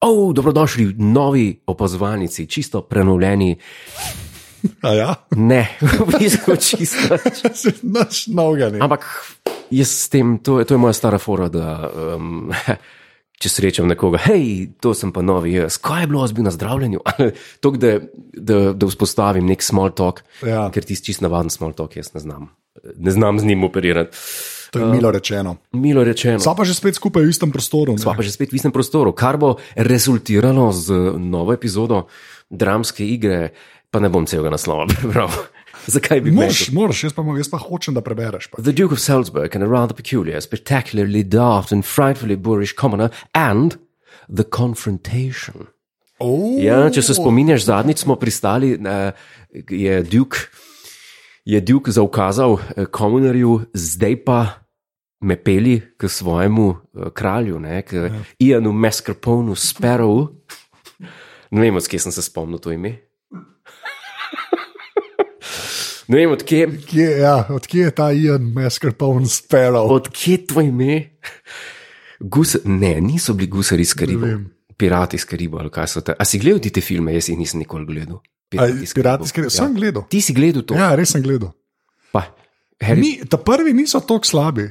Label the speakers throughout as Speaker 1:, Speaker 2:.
Speaker 1: Oh, dobrodošli v novi opazovalnici, čisto prenovljeni.
Speaker 2: A ja,
Speaker 1: Ne, v bistvu čisto.
Speaker 2: naš noga ne.
Speaker 1: Ampak jaz s tem, to je, to je moja stara fora, da um, če srečam nekoga, hej, to sem pa novi jaz, kaj je bilo, jaz bi na zdravljenju. to, da, da, da vzpostavim nek small talk,
Speaker 2: Ja.
Speaker 1: ker tisti čist navaden small talk jaz ne znam. Ne znam z njim operirati.
Speaker 2: To je milo rečeno.
Speaker 1: Milo rečeno.
Speaker 2: Sva pa že spet skupaj v istem prostoru. ne?
Speaker 1: Sva pa že spet v istem prostoru, kar bo rezultiralo z novo epizodo dramske igre, pa ne bom celega naslova prebral. Zakaj bi meni to-
Speaker 2: Moraš, moraš, jaz pa, jaz pa hočem, da prebereš. Pa.
Speaker 1: The Duke of Salzburg and a rather peculiar, spectacularly daft and frightfully boorish commoner, and the confrontation.
Speaker 2: Oh,
Speaker 1: Ja, če se spominješ, zadnjič smo pristali, eh, je Duke, je Duke zaukazal komunarju, zdaj pa me peli k svojemu eh, kralju, ne, k ja. Ianu Mascarponu Sparrowu. Ne vem, odkje sem se spomnil to ime. Ne vem, odkje.
Speaker 2: Kje, ja, odkje je ta Ian Mascarpone Sparrow?
Speaker 1: Odkje je tvoj ime? Guse, ne, niso bili gusari iz Karibov.
Speaker 2: vem.
Speaker 1: Pirati iz Karibov ali kaj so te. A si gledal ti te filme? Jaz jih nisem nikoli gledal.
Speaker 2: Aj,
Speaker 1: iz
Speaker 2: Pirati
Speaker 1: Karibov.
Speaker 2: skrivaj. Sem gledal.
Speaker 1: Ti si gledal to? Ja.
Speaker 2: Ja, res sem gledal.
Speaker 1: Pa, Harry,
Speaker 2: Ni, ta prvi niso tako slabi.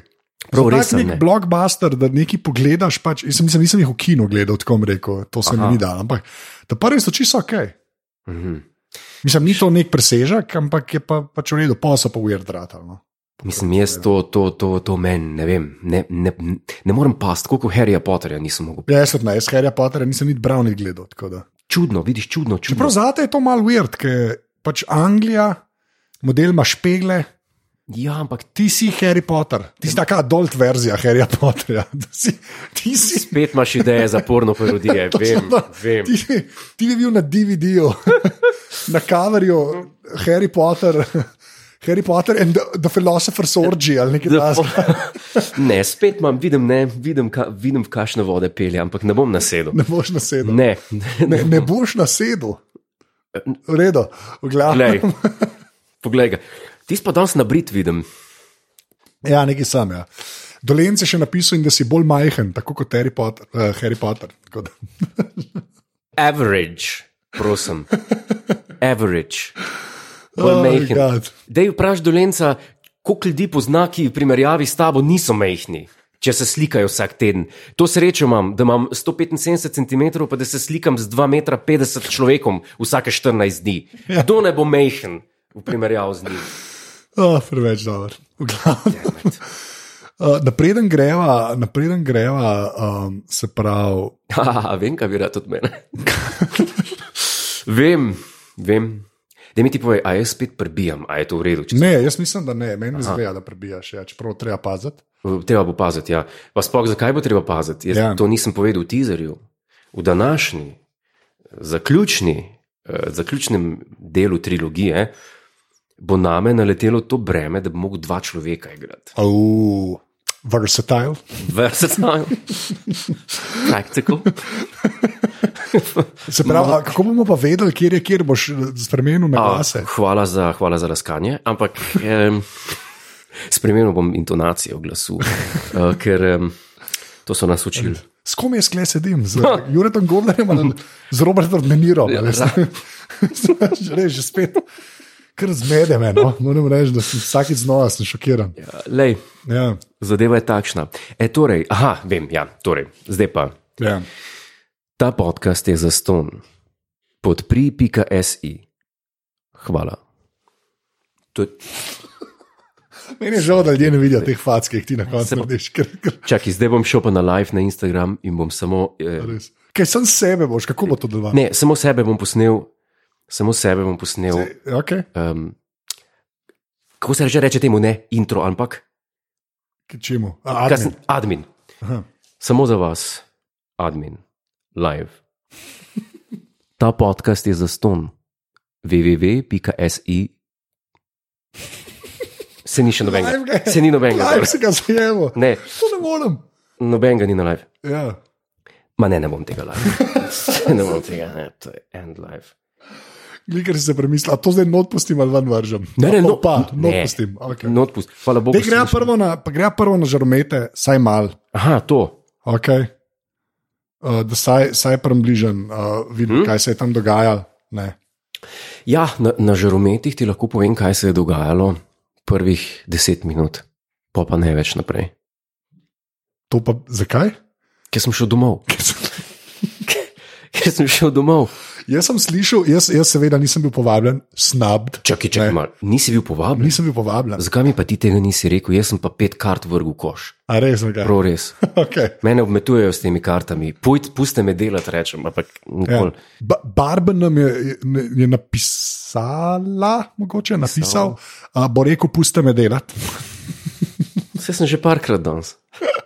Speaker 1: Prav
Speaker 2: So
Speaker 1: res
Speaker 2: tak
Speaker 1: so, ne.
Speaker 2: nek blockbuster, da nekaj pogledaš. Pač, jaz sem, nisem, nisem jih v kinu gledal, tako bom rekel, to se
Speaker 1: Aha.
Speaker 2: mi ni dalo. Ampak ta prvi so čisto ok.
Speaker 1: mhm.
Speaker 2: Mislim, ni to nek presežek, ampak je pa, pač v redu, posel pa ujerd ratal. No.
Speaker 1: Mislim, jaz to, to, to, to meni, ne vem, ne, ne, ne morem past, kot v Harryja Potterja nisem mogel.
Speaker 2: Ja, jaz sem na Harryja Potterja nisem niti bral, niti gledal. tako da.
Speaker 1: Čudno, vidiš, čudno, čudno.
Speaker 2: Čeprav zate je to malo weird, ker pač Anglija, model ima špegle,
Speaker 1: Ja, ampak
Speaker 2: ti si Harry Potter, ti si taka adult verzija Harryja Potterja. da Si, ti si.
Speaker 1: spet imaš ideje za porno parodije, vem, vem.
Speaker 2: Ti, ti bi bil na DVD-ju, na kaverju Harry Potter, Harry Potter and the, the Philosopher's Orgy ali nekaj takega.
Speaker 1: Ne, spet imam, vidim, ne, vidim, ka, vidim v kakšne vode pelje, ampak ne bom nasedel.
Speaker 2: Ne boš nasedel.
Speaker 1: Ne, ne,
Speaker 2: Ne, ne boš nasedel. V redu, v glavi.
Speaker 1: Glej, poglej ga. Ti si pa danes na Brit, vidim.
Speaker 2: Ja, nekaj sam. Ja. Dolenc je še napisal, in da si bolj majhen, tako kot Harry Potter. Uh, Harry Potter. tako da.
Speaker 1: Average, prosim. Average. Bolj
Speaker 2: Oh,
Speaker 1: majhen.
Speaker 2: God.
Speaker 1: Dej vpraš dolenca, koliko ljudi pozna, ki v primerjavi s tabo niso mehni. Če se slikajo vsak teden. To srečo imam, da imam 175 cm, pa da se slikam z 2,50 m človekom vsake 14 dni.
Speaker 2: Ja.
Speaker 1: Kdo ne bo mehen v primerjavi z njim?
Speaker 2: Oh, preveč dobro. V glavnem.
Speaker 1: Ja,
Speaker 2: Uh, napreden greva, napreden greva um, se pravi,
Speaker 1: Haha, vem, kaj bi rad od mene. vem, vem. Da mi ti povej, a jaz spet prebijam, a je to v redu. Če...
Speaker 2: ne, jaz mislim, da ne, meni zgleda, da prebijaš, ja, čeprav treba paziti.
Speaker 1: Treba bo paziti, ja. Pa sploh, zakaj bo treba paziti? Jaz ja.
Speaker 2: Ja.
Speaker 1: to nisem povedal v teaserju. V današnji, eh, zaključni, eh, zaključnem delu trilogije eh, bo name naletelo to breme, da bo mogel dva človeka igrati.
Speaker 2: Oh, versatile.
Speaker 1: Versatile, practical.
Speaker 2: Se pravi, a kako bomo pa vedeli, kje je, kjer boš eh, spremenil na
Speaker 1: No. A,
Speaker 2: glase?
Speaker 1: Hvala za, hvala za razkanje, ampak um, spremenil bom intonacijo glasu, uh, ker um, to so nas učili.
Speaker 2: S kom jaz kle sedim, z
Speaker 1: No.
Speaker 2: Juretom Gordarjem ali z Robertom Denirom?
Speaker 1: Ja,
Speaker 2: Reži, že spet. Kar zmede me, no? moram reči, da sem vsakeč znova sem šokiran.
Speaker 1: Lej,
Speaker 2: Ja,
Speaker 1: zadeva je takšna. E, torej, aha, vem, ja, torej, zdaj pa.
Speaker 2: ja.
Speaker 1: Ta podcast je za ston. Podpri.si. Hvala. To,
Speaker 2: Meni je žal, da ljudje ne vidijo teh fac, ki jih ti na koncu narediš. Ker, ker,
Speaker 1: čakaj, zdaj bom šel pa na live na Instagram in bom samo. Eh,
Speaker 2: res. Kaj sem sebe boš, kako bo to delovalo?
Speaker 1: ne, samo sebe bom posnel, samo sebe bom posnel.
Speaker 2: Okay.
Speaker 1: um, kako se reče, reče temu ne intro, ampak
Speaker 2: K Čemu?
Speaker 1: admin.
Speaker 2: A, admin.
Speaker 1: Kasn, admin.
Speaker 2: Aha.
Speaker 1: Samo za vas, admin, live. Ta podcast je za ston, www.si. Se ni še nobenega,
Speaker 2: Live ga je.
Speaker 1: se ni nobenega,
Speaker 2: Kaj
Speaker 1: dobro.
Speaker 2: se ga zajemo?
Speaker 1: ne,
Speaker 2: To ne morem.
Speaker 1: nobenega ni na live.
Speaker 2: Ja.
Speaker 1: Ma ne, ne bom tega live. ne bom tega, ne, to je end live.
Speaker 2: Glikar si se premislil, a to zdaj not pustim ali ven vržem.
Speaker 1: Ne, ne,
Speaker 2: O,
Speaker 1: no-
Speaker 2: pa, not
Speaker 1: ne.
Speaker 2: pustim. Okay.
Speaker 1: No, odpust, hvala Bogu.
Speaker 2: Dej, gre
Speaker 1: sem-
Speaker 2: prvo na, pa gre prvo na žaromete, saj mal.
Speaker 1: Aha, to.
Speaker 2: Okay. uh, da saj, saj približen uh, vidim, hmm? kaj se je tam dogajalo. Ne.
Speaker 1: Ja, na, na žarometih ti lahko povem, kaj se je dogajalo prvih deset minut, pa pa ne več naprej.
Speaker 2: To pa zakaj?
Speaker 1: Ker sem šel domov. Ker sem šel domov.
Speaker 2: Jaz sem slišal, jaz, jaz seveda nisem bil povabljen, snabd.
Speaker 1: Čakaj, čakaj,
Speaker 2: Ne.
Speaker 1: malo. nisi bil povabljen.
Speaker 2: Nisem bil povabljen.
Speaker 1: Zakaj mi pa ti tega nisi rekel? Jaz sem pa pet kart vrgel v koš,
Speaker 2: A res nekaj.
Speaker 1: prav res.
Speaker 2: Okay.
Speaker 1: Mene obmetujejo s temi kartami, Pojdi, puste me delati, rečem, ampak
Speaker 2: Ja.
Speaker 1: nikoli. Ja.
Speaker 2: Ba Barben nam je, je, je napisala, mogoče napisal, uh, bo rekel, puste me delati.
Speaker 1: Vse sem že parkrat danes.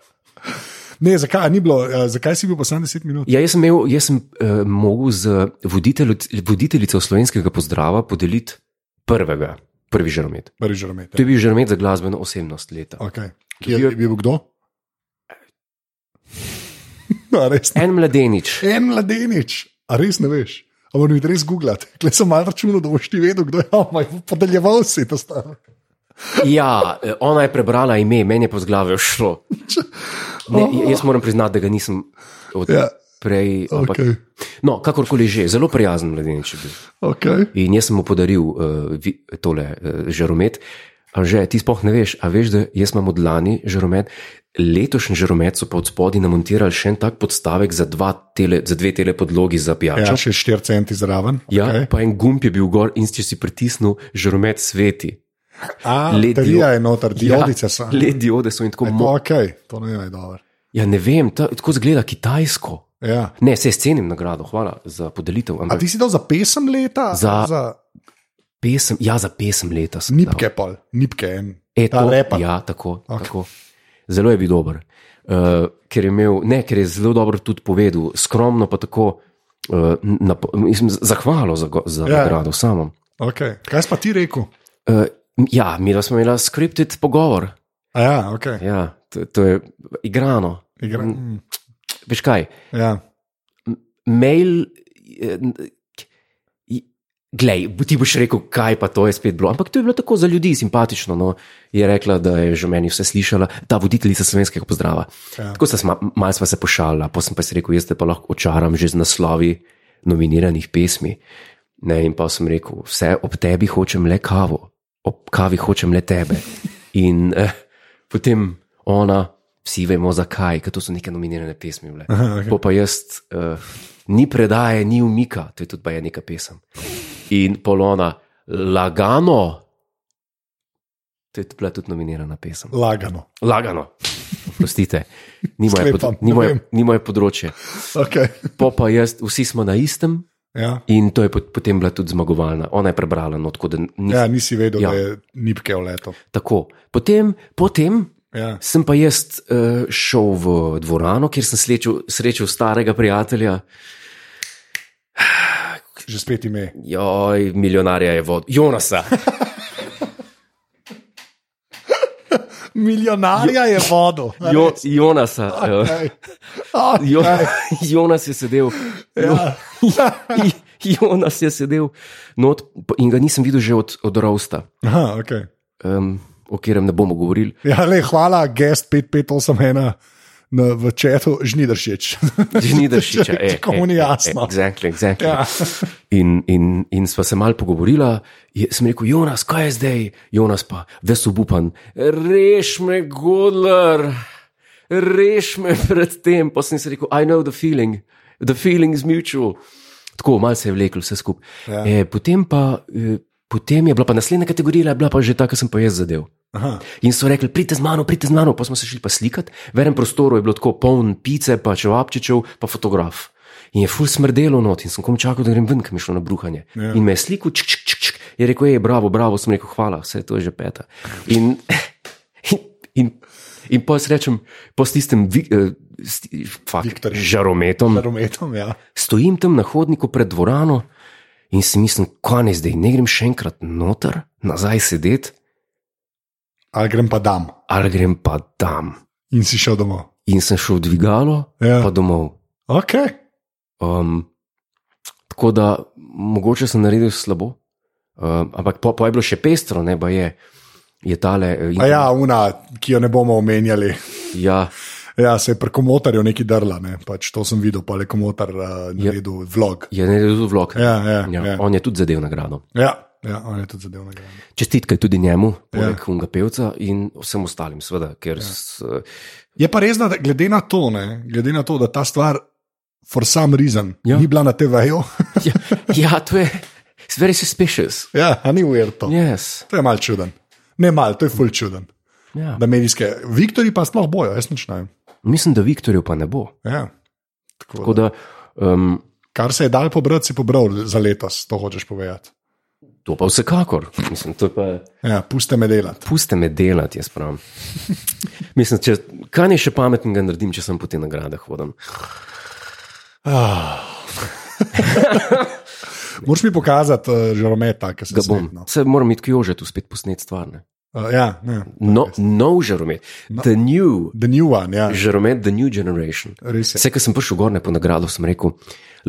Speaker 2: Ne, zakaj, a ni bilo, uh, zakaj si bil pa sam 10 minut?
Speaker 1: Ja, jaz sem, imel, jaz sem uh, mogel z voditelj, voditeljico slovenskega pozdrava podeliti prvega, prvi žaromet.
Speaker 2: Prvi žaromet.
Speaker 1: To je bil žaromet za glasbeno osebnost leta.
Speaker 2: Okay. Kje je bil kdo? A No, res, ne.
Speaker 1: En mladenič,
Speaker 2: en mladenič, a res ne veš. Ampak mi res googlati. Kle sem malo računal, da boš ti vedel, kdo je amaj, podeljeval si to stvar.
Speaker 1: ja, eh, ona je prebrala ime, meni je pa z glave šlo. Ne, jaz moram priznati, da ga nisem od
Speaker 2: Oh. Ja.
Speaker 1: prej. Ampak,
Speaker 2: Okay.
Speaker 1: No, kakorkoli že, zelo prijazen mladenič je bil.
Speaker 2: Okay.
Speaker 1: In jaz sem mu podaril uh, vi, tole uh, žaromet. Že ti spoh ne veš, a veš, da jaz imam od lani žaromet. Letošnji žaromet so pa od spodaj namontirali še en tak podstavek za, dva tele, za dve tele podlogi za
Speaker 2: Ja,
Speaker 1: pijačo.
Speaker 2: še 4 centi zraven.
Speaker 1: Ja, okay.
Speaker 2: okay.
Speaker 1: pa en gumb je bil gor in če si pritisnil, žaromet sveti.
Speaker 2: A,
Speaker 1: Led dio-
Speaker 2: Baterija je noter, diodice so.
Speaker 1: Ja, le diode so in tako naprej.
Speaker 2: No, okay, to ne je dobro.
Speaker 1: Ja, ne vem, ta, tako zgleda kitajsko.
Speaker 2: Ja.
Speaker 1: Ne, se scenim nagrado, hvala za podelitev.
Speaker 2: A
Speaker 1: Ampak
Speaker 2: ti si dal za pesem leta?
Speaker 1: Za-
Speaker 2: za
Speaker 1: pesem, ja, za pesem leta sem. dal.
Speaker 2: nipke, pol, nipke en.
Speaker 1: E,
Speaker 2: Ta
Speaker 1: to,
Speaker 2: repa.
Speaker 1: ja, tako,
Speaker 2: Ok.
Speaker 1: okay. tako. Zelo je bil dober. Uh, ker, je imel, ne, ker je zelo dobro tudi povedal, skromno pa tako. Uh, napo, mislim, z- zahvalo za, go- za
Speaker 2: Ja.
Speaker 1: yeah. nagrado samem.
Speaker 2: Okay. Kaj si pa ti rekel?
Speaker 1: Uh, ja, mi smo imeli skripted pogovor.
Speaker 2: A ja, okay.
Speaker 1: Ja, to, to je igrano.
Speaker 2: Igra. Mm.
Speaker 1: Veš kaj,
Speaker 2: Ja.
Speaker 1: mail. eh, i- Glej, bo- ti boš rekel, kaj pa to je spet bilo. Ampak to je bilo tako za ljudi simpatično. No. Je rekla, da je že meni vse slišala, ta voditeljica slovenskega pozdrava.
Speaker 2: Ja.
Speaker 1: Tako smo malo sva se pošalila, pa sem pa si rekel, jaz te pa lahko očaram že z naslovi nominiranih pesmi. Ne, in pa sem rekel, vse ob tebi hočem le kavo, ob kavi hočem le tebe. In eh, potem ona, vsi vemo zakaj, ker to so neke nominirane pesmi. Bile.
Speaker 2: Aha, okay.
Speaker 1: To pa jaz, uh, ni predaje, ni umika, to je tudi baje neka pesem. In polona, lagano, to je bila tudi nominirana pesem.
Speaker 2: Lagano.
Speaker 1: Lagano, prostite, ni moje,
Speaker 2: Sklepam,
Speaker 1: pod, ni
Speaker 2: ne
Speaker 1: moje,
Speaker 2: vem.
Speaker 1: ni moje področje.
Speaker 2: Okay.
Speaker 1: Po pa jaz, vsi smo na istem
Speaker 2: Ja.
Speaker 1: in to je pot, potem bila tudi zmagovalna. Ona je prebrala, no, tako da ni ja.
Speaker 2: ja, nisi vedel,
Speaker 1: Ja.
Speaker 2: ja. da je nipke v leto.
Speaker 1: tako. Potem, potem
Speaker 2: Ja.
Speaker 1: Sem pa jaz uh, šel v dvorano, kjer sem srečal, srečal starega prijatelja,
Speaker 2: Že spet ime.
Speaker 1: joj, milijonarja je vod, Jonasa.
Speaker 2: Milijonarja je vodo.
Speaker 1: Jo, Jonasa. eh,
Speaker 2: Okay. Okay.
Speaker 1: Jo, Jonas je sedel.
Speaker 2: Ja.
Speaker 1: Jonas je sedel not, in ga nisem videl že od, od Rosta,
Speaker 2: Aha, okay.
Speaker 1: um, o katerem ne bomo govorili.
Speaker 2: ja, le, hvala, gest 5581 na, v četu, žnidaršič.
Speaker 1: Ni da še če.
Speaker 2: Komu ni jasno.
Speaker 1: e, Exactly, exactly.
Speaker 2: Ja.
Speaker 1: Ja. In, in, in sva se malo pogovorila, je, sem rekel, Jonas, kaj je zdaj, Jonas pa, ves obupan, reš me, Godler, reš me pred tem. Pa sem si rekel, I know the feeling, the feeling is mutual. Tako malo se je vlekel, vse skupaj.
Speaker 2: Ja.
Speaker 1: Ja. E, potem pa. E, Potem je bila pa naslednja kategorija, je bila pa že ta, ki sem pa jaz zadev.
Speaker 2: Aha.
Speaker 1: In so rekli, pridite z mano, pridite z mano, pa smo se šli pa slikati. V enem prostoru je bilo tako poln pice, pa čevapčičev, pa fotograf. In je ful smrdelo not in sem kom čakal, da grem ven, ker mi je šlo na bruhanje.
Speaker 2: Ja.
Speaker 1: Ja. In me je slikal, čik, čik, čik, čik. je rekel, je bravo, bravo, sem rekel, hvala, vse to je že peta. In, in, in, in pa jaz rečem, po tistem vi, eh, sti, fakt,
Speaker 2: Viktorjem.
Speaker 1: žarometom,
Speaker 2: Rometom, ja.
Speaker 1: Stojim tam na hodniku pred dvorano in si mislim, konec zdaj, ne grem še enkrat noter, nazaj sedeti,
Speaker 2: Ali grem pa dam
Speaker 1: ali grem pa tam.
Speaker 2: in si šel domov.
Speaker 1: In sem šel v dvigalo,
Speaker 2: Ja.
Speaker 1: pa domov.
Speaker 2: Okay.
Speaker 1: Um, tako da mogoče sem naredil slabo, um, ampak po, po je bilo še pestro, ne pa je. Je tale. eh,
Speaker 2: ja. A ja, una, ki jo ne bomo omenjali.
Speaker 1: ja,
Speaker 2: Ja, se je preko motorja nekaj drla, ne? pač to sem videl, pa le komotor uh, naredil vlog.
Speaker 1: Je naredil vlog.
Speaker 2: Ja, ja,
Speaker 1: Ja,
Speaker 2: ja.
Speaker 1: On je tudi zadev nagrado.
Speaker 2: ja, ja, on je tudi zadev nagrajen.
Speaker 1: Čestitke tudi njemu, poleg ja. unga pevca in vsem ostalim, seveda, ker ja.
Speaker 2: Je pa res, da glede na to, ne, glede na to da ta stvar, for some reason,
Speaker 1: Ja.
Speaker 2: ja. ni bila na TV-ju,
Speaker 1: ja, ja, to je it's very suspicious.
Speaker 2: ja, a ni uverto. Ja.
Speaker 1: Yes.
Speaker 2: To je mal čuden. Ne mal, to je ful čuden.
Speaker 1: Ja.
Speaker 2: Da medijske, Viktori pa sploh bojo, jaz nič ne vem.
Speaker 1: Mislim, da Viktorjev pa ne bo.
Speaker 2: Ja.
Speaker 1: Tako
Speaker 2: Tako, Tako da,
Speaker 1: da, um,
Speaker 2: kar se je dal pobrati, si pobral za letos, to hočeš povedati.
Speaker 1: to pa vsekakor. Mislim, to je pa,
Speaker 2: Ja, puste me delati.
Speaker 1: puste me delati, jaz pravim. Mislim, če, kaj naj še pametnega naredim, če sem po te nagrade hodim. Ah.
Speaker 2: Moraš mi pokazati, uh, že rometa, ki se
Speaker 1: Ga bom.
Speaker 2: smetno.
Speaker 1: Se moram iti k Jožetu spet posnet stvar. Ne?
Speaker 2: Uh, ja, ne.
Speaker 1: No, nov žaromet.
Speaker 2: No.
Speaker 1: The new
Speaker 2: The new one, ja.
Speaker 1: žaromet, the new generation.
Speaker 2: Res je.
Speaker 1: Vse, kar sem prišel gor, ne po nagrado, sem rekel,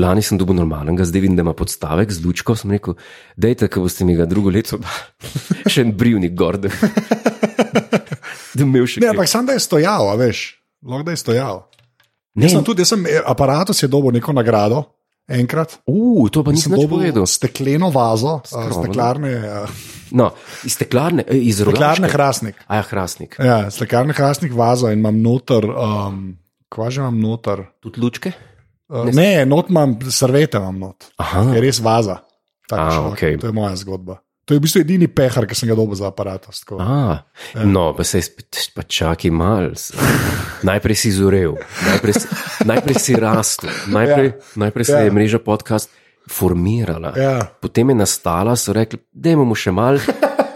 Speaker 1: lani sem dobil normalnega, zdaj vidim, da ima podstavek z lučko. Sem rekel, dajte, ko boste mi ga drugo leto dali, še en brivnik gor, da, da bi imel še
Speaker 2: Ne,
Speaker 1: kaj.
Speaker 2: ampak sam da je stojal, a veš, lahko da je stojal.
Speaker 1: Ne,
Speaker 2: Jaz sem tudi, jaz sem, eh, aparatus je dobil neko nagrado, enkrat.
Speaker 1: uh, to pa
Speaker 2: Sem
Speaker 1: nisem več
Speaker 2: dobil
Speaker 1: povedal.
Speaker 2: stekleno vazo, eh,
Speaker 1: Skromno.
Speaker 2: steklarne, eh,
Speaker 1: No, iz teklarne, eh, iz
Speaker 2: steklarne
Speaker 1: rogaške.
Speaker 2: hrasnik.
Speaker 1: Aja, hrasnik.
Speaker 2: Ja, steklarne hrasnik vazo in imam noter, um, kva že imam noter.
Speaker 1: Tudi lučke?
Speaker 2: Eh, Ne, not imam, servete imam not.
Speaker 1: Aha,
Speaker 2: Je res vaza.
Speaker 1: A,
Speaker 2: Takšno,
Speaker 1: okej.
Speaker 2: To je moja zgodba. To je v bistvu edini pehar, ki sem ga dobil za aparatus. tako.
Speaker 1: A,
Speaker 2: Ja.
Speaker 1: no, pa se spet pa čakaj mal. s- Najprej si zorel, najprej, si- najprej si rastel, najprej,
Speaker 2: Ja.
Speaker 1: ja. najprej se ja.
Speaker 2: Ja.
Speaker 1: je mreža podcast formirala.
Speaker 2: Ja.
Speaker 1: Potem je nastala, so rekli, da imamo še mal,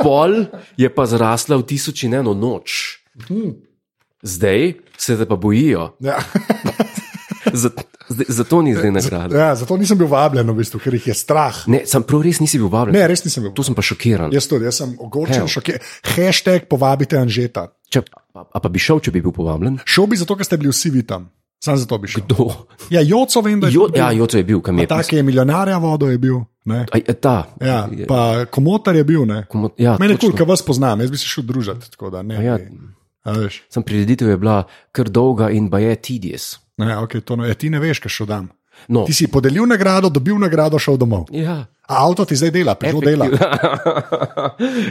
Speaker 1: pol je pa zrasla v tisoč in eno noč.
Speaker 2: Mhm.
Speaker 1: Zdaj se te pa bojijo,
Speaker 2: Ja.
Speaker 1: zato, zato ni zdaj nagrada.
Speaker 2: ja, zato nisem bil vabljen, v bistvu, ker jih je strah.
Speaker 1: Ne, sam prav res nisi bil vabljen,
Speaker 2: Ne, Ja. res nisem bil.
Speaker 1: to sem pa šokiran.
Speaker 2: Jaz tudi, jaz sem ogorčen,
Speaker 1: Evo.
Speaker 2: šokiran. Hashtag povabite Anžeta.
Speaker 1: Če, a, a pa bi šel, če bi bil povabljen?
Speaker 2: Šel bi zato, ker ste bili vsi vi tam. Sam zato bi šel.
Speaker 1: Do.
Speaker 2: Ja, Joco vem, da je
Speaker 1: Jo,
Speaker 2: bil.
Speaker 1: ja, Joto je bil, kam je
Speaker 2: Ta, ki je milijonarja vodo, je bil. Ne?
Speaker 1: Aj, e, ta.
Speaker 2: Ja,
Speaker 1: Je-
Speaker 2: pa komotar je bil. Ne?
Speaker 1: komu- ja,
Speaker 2: Mene je
Speaker 1: točno.
Speaker 2: kul, ker vas poznam, jaz bi se šel družiti. tako Da, ne,
Speaker 1: Ja.
Speaker 2: bi. A veš,
Speaker 1: Sam prireditev je bila kar dolga in pa je TDS.
Speaker 2: ne, okay, to, ne, e, ti ne veš, kaj šel dam.
Speaker 1: No,
Speaker 2: Ti si podelil nagrado, dobil nagrado, šel domov.
Speaker 1: ja,
Speaker 2: A avto ti zdaj dela, prišel dela,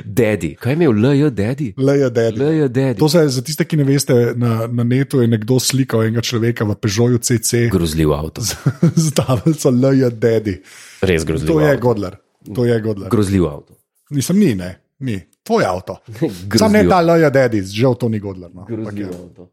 Speaker 1: dedi. Kaj je imel LJ, dedi?
Speaker 2: le je del.
Speaker 1: LJ, dedi.
Speaker 2: To se za tiste, ki ne veste, na, na netu je nekdo slikal enega človeka v Peugeotu CC
Speaker 1: Grozljiv avto.
Speaker 2: z tablico LJ Daddy.
Speaker 1: Res
Speaker 2: To
Speaker 1: grozljiv
Speaker 2: je
Speaker 1: avto.
Speaker 2: Godler. To je Godler.
Speaker 1: Grozljiv avto.
Speaker 2: Nisem ni, ne, ni. Tvoj avto.
Speaker 1: Grozljiv.
Speaker 2: Sam ne ta LJ Daddy, žal to ni Godler. No.
Speaker 1: Grozljiv avto.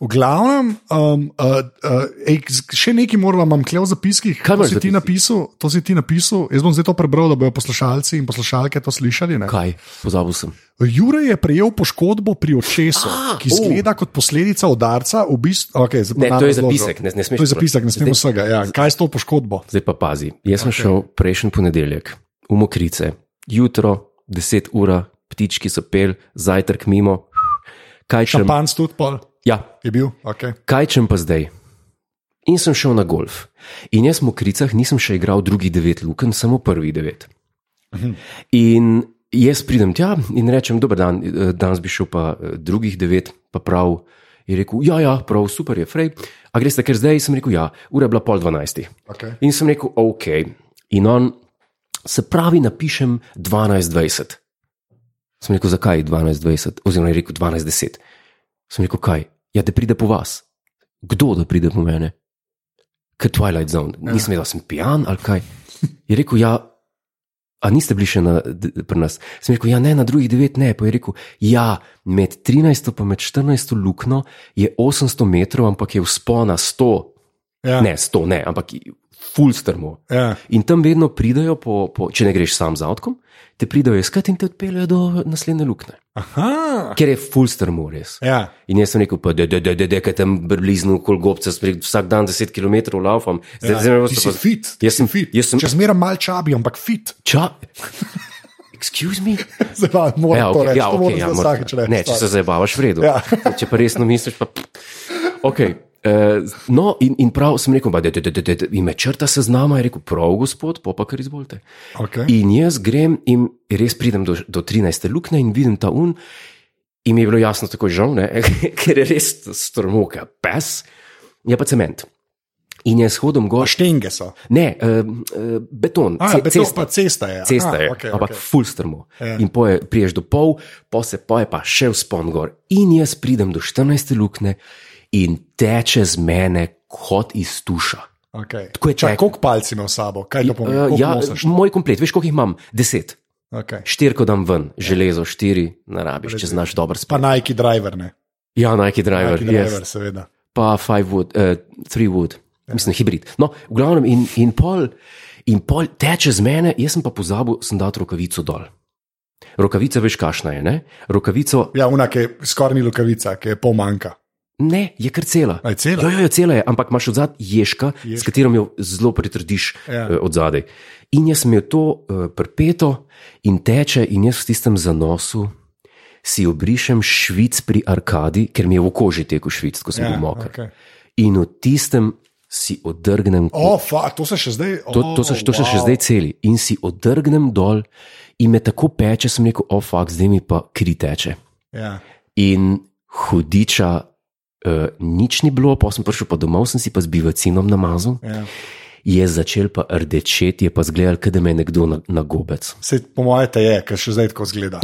Speaker 2: V glavnem, um, uh, uh, ej, z- še nekaj moramo, imam kle v zapiskih.
Speaker 1: Kaj
Speaker 2: to
Speaker 1: imaš
Speaker 2: si,
Speaker 1: v
Speaker 2: ti
Speaker 1: zapiskih?
Speaker 2: napisal, to si ti napisal, jaz bom zdaj to prebral, da bodo poslušalci in poslušalke to slišali. ne.
Speaker 1: Kaj, pozabil sem.
Speaker 2: Jure je prejel poškodbo pri očesu,
Speaker 1: A,
Speaker 2: ki zgleda kot posledica udarca. V bistvu, okay, zdaj pa
Speaker 1: Ah, oh. Ne,
Speaker 2: nam
Speaker 1: to je
Speaker 2: razložil.
Speaker 1: zapisek, ne- ne smeš
Speaker 2: To je zapisek, ne
Speaker 1: prebrati.
Speaker 2: smemo vsega. Ja. Kaj je s to poškodbo?
Speaker 1: Zdaj pa pazi. Jaz sem okay. šel prejšnji ponedeljek v Mokrice, jutro, 10 ura, ptički so pel, zajtrk mimo. Kaj čem?
Speaker 2: Šampanc tudi pol
Speaker 1: Ja,
Speaker 2: je bil. Okay.
Speaker 1: kaj čem pa zdaj? In sem šel na golf. In jaz v Mokricah nisem še igral drugih devet luken, samo prvi devet. In jaz pridem tja in rečem, dober dan, eh, danes bi šel pa eh, drugih devet, pa prav. Je rekel, ja, ja, prav, super je, frej. A greš takrat zdaj? Sem rekel, ja, ura je bila pol dvanajstih.
Speaker 2: Okay.
Speaker 1: In sem rekel, ok. In on, se pravi, napišem 12:20. Sem rekel, zakaj 12:20, oziroma je rekel 12:10. Sem rekel, kaj? Ja, da pride po vas. Kdo da pride po mene? Ker Twilight Zone, nisem vedel, da sem pijan ali kaj. Je rekel, ja. A niste bili še na, d, pri nas? Sem rekel, ja, ne, na drugih devet ne. Pa je rekel, ja, med 13 in med 14 luknjo je 800 metrov, ampak je vzpona 100
Speaker 2: Ja.
Speaker 1: Ne, sto ne, ampak full strmo.
Speaker 2: Ja.
Speaker 1: In tam vedno pridajo, po, po, če ne greš sam z avtom, te pridajo iskat in te odpeljejo do naslednje luknje,
Speaker 2: Aha.
Speaker 1: ker je full strmo res.
Speaker 2: Ja.
Speaker 1: In jaz sem rekel, pa da, da, da, da, da, tam blizu kolgobca, spri- vsak dan 10 km laufam. Zdaj, zdaj me
Speaker 2: Ja, ti
Speaker 1: boste
Speaker 2: si
Speaker 1: pa-
Speaker 2: fit, ti
Speaker 1: Jaz
Speaker 2: si
Speaker 1: sem
Speaker 2: fit.
Speaker 1: Jaz sem
Speaker 2: Če zmeraj mal čabi, ampak fit.
Speaker 1: ča. Excuse me?
Speaker 2: Zdaj pa moram
Speaker 1: Ja,
Speaker 2: to
Speaker 1: okay,
Speaker 2: reči,
Speaker 1: ja,
Speaker 2: to
Speaker 1: okay,
Speaker 2: moram
Speaker 1: ja,
Speaker 2: za
Speaker 1: mora-
Speaker 2: vsakič reči.
Speaker 1: ne, če se zabavaš, vredno.
Speaker 2: Ja.
Speaker 1: Ja. če pa resno misliš, pa. Okay. Uh, no, in, in prav sem rekel, da je me črta seznama, je rekel, prav, gospod, pa pa kar izvolite.
Speaker 2: Okay.
Speaker 1: In jaz grem in res pridem do, do 13. luknje in vidim ta un. In mi je bilo jasno tako žal, ne, ker je res strmoka pes, je pa cement. In je shodom
Speaker 2: Pa
Speaker 1: gor,
Speaker 2: Štenge so.
Speaker 1: ne, uh, uh, beton,
Speaker 2: A,
Speaker 1: ce-
Speaker 2: beton, cesta. cesta je.
Speaker 1: Cesta
Speaker 2: Aha,
Speaker 1: je,
Speaker 2: Ah, okej,
Speaker 1: okay, ampak
Speaker 2: okej.
Speaker 1: okay. ful strmo.
Speaker 2: Ja.
Speaker 1: Yeah. In poje, priješ do pol, po se poje pa še v spon gor. In jaz pridem do 14. luknje in teče z mene kot iz tuša.
Speaker 2: Okay.
Speaker 1: Tako je
Speaker 2: Čakaj,
Speaker 1: čakal.
Speaker 2: koliko palcev imaš s sabo? Kaj to pomeni?
Speaker 1: Eh,
Speaker 2: Koliko
Speaker 1: ja,
Speaker 2: nosiš?
Speaker 1: moj komplet, veš, koliko jih imam? Deset.
Speaker 2: Okay.
Speaker 1: Štirko dam ven, železo, štiri narabiš, če znaš dobro
Speaker 2: Ja. Pa
Speaker 1: spati.
Speaker 2: Nike driver, ne.
Speaker 1: Ja, Nike driver,
Speaker 2: Nike
Speaker 1: yes.
Speaker 2: driver, yes. seveda.
Speaker 1: pa five wood, uh, three wood, ja. mislim, hibrid. No, v glavnem, in, in, pol, in pol teče z mene, jaz sem pa pozabil, sem dal rokavico dol. Rokavica veš, kašna je, ne? Rokavico
Speaker 2: Ja, unak je skoraj ni lukavica, ki je pol manjka.
Speaker 1: ne, je kar cela.
Speaker 2: A je cela?
Speaker 1: Jo, jo, jo, cela je, ampak imaš odzad ježka, ježka. s
Speaker 2: Ježka.
Speaker 1: katerim jo zelo pritrdiš
Speaker 2: Ja.
Speaker 1: ja. od zadaj. In jaz sem jo to uh, prpeto in teče, in jaz v tistem zanosu si obrišem švic pri Arkadi, ker mi je v koži tekel švic, ko sem
Speaker 2: Ja,
Speaker 1: ja, bil moker.
Speaker 2: okej.
Speaker 1: Okay. In v tistem si odrgnem.
Speaker 2: O, fa, to se še zdaj.
Speaker 1: To, to, so, to so še zdaj celi in si odrgnem dol, in me tako peče, sem rekel, ofak, zdaj mi pa kri teče.
Speaker 2: Ja.
Speaker 1: In hudiča, uh, nič ni bilo, pa sem prišel pa domov, sem si pa z bivacinom namazal.
Speaker 2: Ja.
Speaker 1: Je začel pa rdečeti, je pa zgledal, kot da me je nekdo na, na gobec.
Speaker 2: Se, po mojem, te je, ker še zdaj tako zgleda.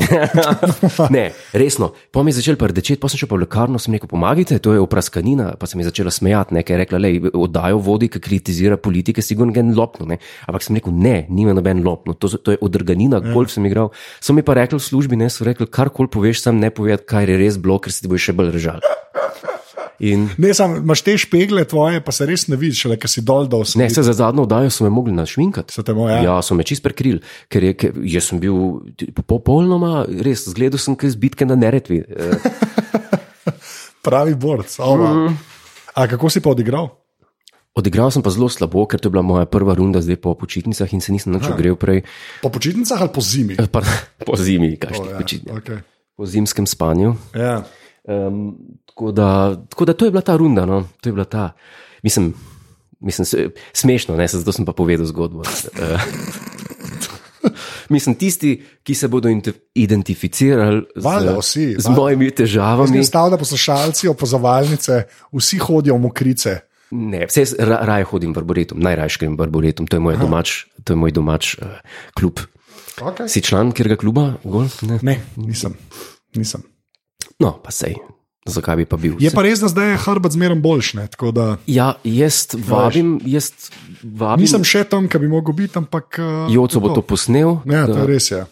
Speaker 1: Ne, resno. Pa mi je začel pa rdečeti, pa sem šel pa v lekarno, sem rekel, pomagajte, to je opraskanina. Pa se mi je začela smejati, nekaj je rekla, le oddajo vodi, ki kritizira politike, sigurno gen lopno. Ne? Ampak sem rekel, ne, nima noben lopno, to, so- to je odrganina, golf sem igral. So mi pa rekli v službi, ne, so rekli, karkoli poveš, sam ne povej, kaj je res bilo, ker si ti boš še bolj režal. In
Speaker 2: Ne, sam, imaš te špegle tvoje, pa se res ne vidiš, le ker si dol dol.
Speaker 1: Ne, se za zadnjo oddajo so me mogli našminkati.
Speaker 2: So te mo- ja.
Speaker 1: ja, so me čist prekrili, ker je, ker jaz sem bil ti- popolnoma, res, zgledal sem kaj z bitke na neretvi. Eh,
Speaker 2: Pravi borc. Oh, wow.
Speaker 1: Mhm.
Speaker 2: A kako si pa odigral?
Speaker 1: Odigral sem pa zelo slabo, ker to je bila moja prva runda, zdaj po počitnicah in se nisem nič ogrel prej,
Speaker 2: Po počitnicah ali po zimi?
Speaker 1: Eh, pa, po zimi, kaj
Speaker 2: Oh,
Speaker 1: še
Speaker 2: ja,
Speaker 1: počitnice,
Speaker 2: okay.
Speaker 1: po zimskem spanju.
Speaker 2: ja.
Speaker 1: Um, tako, da, tako da to je bila ta runda, no? to je bila ta. Mislim, mislim se- smešno, ne? se- zato sem pa povedal zgodbo. Eh, mislim, tisti, ki se bodo inte- identificirali
Speaker 2: Valjda,
Speaker 1: z,
Speaker 2: vsi,
Speaker 1: z
Speaker 2: valjda.
Speaker 1: mojimi težavami,
Speaker 2: Stav, da poslušalci, opazovalnice, vsi hodijo v mokrice.
Speaker 1: ne, vse jaz ra, raje hodim v arboretum, najraje grem v arboretum, to je moj domač, to je moj domač uh, klub.
Speaker 2: Okay.
Speaker 1: Si član katerega kluba? Golf? Ne?
Speaker 2: Ne, nisem. nisem.
Speaker 1: No, pa sej. Zakaj bi pa bil?
Speaker 2: Je pa res, da zdaj je Harvard zmeraj boljši. ne, tako da
Speaker 1: Ja, jaz vabim, jaz vabim.
Speaker 2: Nisem še tam, ki bi mogel biti, ampak. eh,
Speaker 1: Joco bo to posnel.
Speaker 2: Ja, to
Speaker 1: da-
Speaker 2: je res. Ja.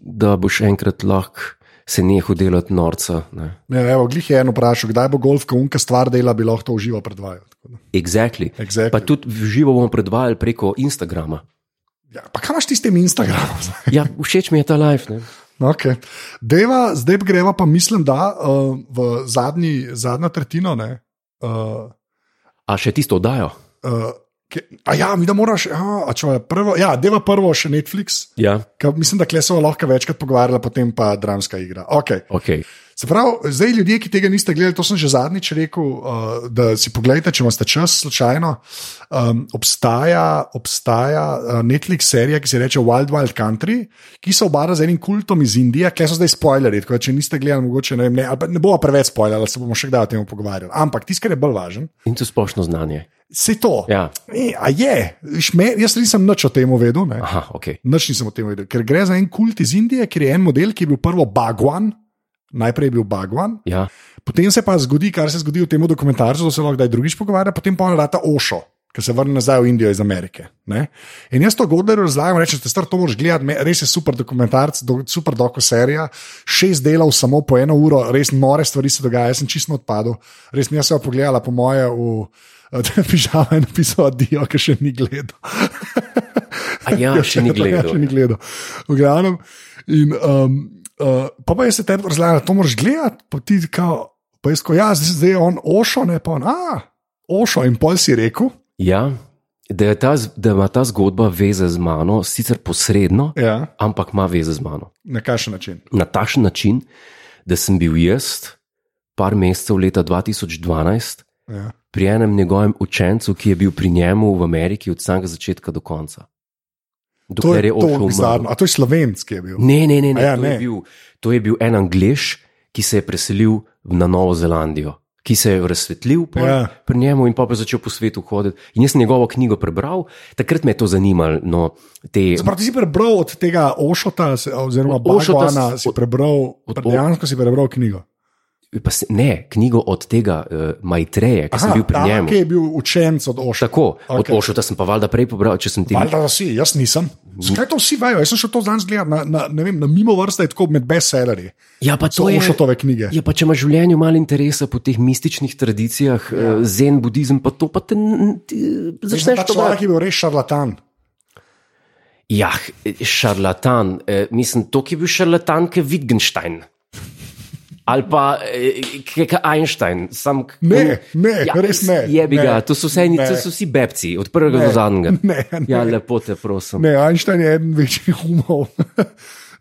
Speaker 1: da boš enkrat lahko se nehal delati norca. Ne.
Speaker 2: Ja, evo, glih je eno vprašal, kdaj bo golf, ko unka stvar dela, bi lahko to uživo predvajal. tako da.
Speaker 1: Exactly.
Speaker 2: Exactly.
Speaker 1: Pa tudi v živo bomo predvajali preko Instagrama.
Speaker 2: Ja, pa kaj imaš ti s tem Instagramom? zdaj?
Speaker 1: Ja, všeč mi je ta live. Ne.
Speaker 2: Okay. Deva, zdaj greva pa, mislim, da uh, v zadnji, zadnjo tretjino. ne, Uh,
Speaker 1: A še tisto oddajo?
Speaker 2: uh, ke, a ja, mi da moraš, a, a če je prvo, ja, deva prvo še Netflix.
Speaker 1: Ja.
Speaker 2: Ka, mislim, da klesova lahko večkrat pogovarjala, potem pa dramska igra. Okay.
Speaker 1: Okay.
Speaker 2: Se pravi, zdaj ljudje, ki tega niste gledali, to sem že zadnjič rekel, uh, da si pogledajte, če imate čas, slučajno. Um, obstaja obstaja uh, Netflix serija, ki se reče Wild Wild Country, ki se obara z enim kultom iz Indije, ki so zdaj spoilerji. Tako da, če niste gledali, mogoče ne, vem, ne, ali pa ne bomo preveč spoilerali, se bomo še kdaj o tem pogovarjali. Ampak tisto, kar je bolj važno,
Speaker 1: In to splošno znanje.
Speaker 2: se to.
Speaker 1: Ja.
Speaker 2: E, a je, Viš, me, jaz nisem nič o tem vedel. Ne.
Speaker 1: Aha, ok.
Speaker 2: Noč nisem o tem vedel, ker gre za en kult iz Indije, kjer je en model, ki je bil prvo Bagwan, najprej je bil Bagwan,
Speaker 1: Ja.
Speaker 2: potem se pa zgodi, kar se zgodi v tem dokumentarcu, to se lahko kdaj drugič pogovarja, potem pa on rata Ošo. Ki se vrne nazaj v Indijo iz Amerike. Ne? In jaz to Godlerju razlagam, rečem, da to moraš gledati, me- res je super dokumentarc, do, super dokuserija, šest delov, samo po eno uro, res nore stvari se dogajajo, jaz sem čisto odpadel, res nisem se opogledala, po moje, v, da bi žal en napisal, adijo, ki še ni gledal.
Speaker 1: A ja, še ni
Speaker 2: Ja, še
Speaker 1: gledal.
Speaker 2: ni gledal. V glavnem. In, um, uh, pa, pa jaz se tebi razlagam, da to moraš gledati, pa ti kao, pa jaz, ko jaz, zdaj je on ošo, ne pa on, a, ošo in pol si rekel.
Speaker 1: Ja. Da, je ta, z- da ima ta zgodba veze z mano, sicer posredno,
Speaker 2: Ja.
Speaker 1: ampak ima veze z mano.
Speaker 2: Na kakšen način?
Speaker 1: na takšen način, da sem bil jaz, par mesecev leta 2012,
Speaker 2: Ja.
Speaker 1: pri enem njegovem učencu, ki je bil pri njemu v Ameriki od samega začetka do konca.
Speaker 2: To
Speaker 1: Dokler
Speaker 2: je
Speaker 1: je
Speaker 2: to
Speaker 1: ošel
Speaker 2: bizarno.
Speaker 1: umrl.
Speaker 2: A to je slovenski je bil.
Speaker 1: Ne, ne, ne, ne,
Speaker 2: A ja,
Speaker 1: ja, to, ne.
Speaker 2: ne.
Speaker 1: Je bil, to je bil en angliš, ki se je preselil na Novo Zelandijo, ki se je razsvetlil pol,
Speaker 2: Ja.
Speaker 1: ja. pri njemu in pa je začel po svetu hoditi. In jaz sem njegovo knjigo prebral, takrat me je to zanimalo. No, te,
Speaker 2: Prav, ti si prebral od tega Ošota, se- oziroma
Speaker 1: Od Ošota
Speaker 2: Ošota,
Speaker 1: s-
Speaker 2: si prebral,
Speaker 1: od-
Speaker 2: dejansko si prebral knjigo.
Speaker 1: pa se, ne, knjigo od tega uh, Majtreja, ki sem bil pri
Speaker 2: ta,
Speaker 1: njemu.
Speaker 2: ki je bil učenec od Ošota.
Speaker 1: Tako, okay. od
Speaker 2: Okej.
Speaker 1: Ošota sem pa valjda prej pobral, če sem ti
Speaker 2: Valjda, da si, jaz nisem. Zakaj to vsi vejo? Jaz sem še to danes gledal, na, na, ne vem, na mimo vrste je tako med bestsellerji.
Speaker 1: Ja, pa
Speaker 2: So
Speaker 1: to je
Speaker 2: Ošotove knjige.
Speaker 1: Ja, pa če imaš v življenju malo interesa po teh mističnih tradicijah, ja. zen budizem, pa to pa te n- ti eh,
Speaker 2: Mislim, pač
Speaker 1: začneš
Speaker 2: Ta
Speaker 1: to
Speaker 2: človek je bil res šarlatan.
Speaker 1: Ja, šarlatan, eh, mislim, to je bil šarlatan, ki je Wittgenstein. Ali pa kakšen Einstein. Sam, k-
Speaker 2: Ne, ne, res ne,
Speaker 1: Jebi
Speaker 2: ne,
Speaker 1: ga, to so, vse,
Speaker 2: ne.
Speaker 1: to so vsi bebci, od prvega
Speaker 2: Ne,
Speaker 1: do zadnjega.
Speaker 2: ne, ne.
Speaker 1: Ja, lepo te prosim.
Speaker 2: Ne, Einstein je eden večjih umov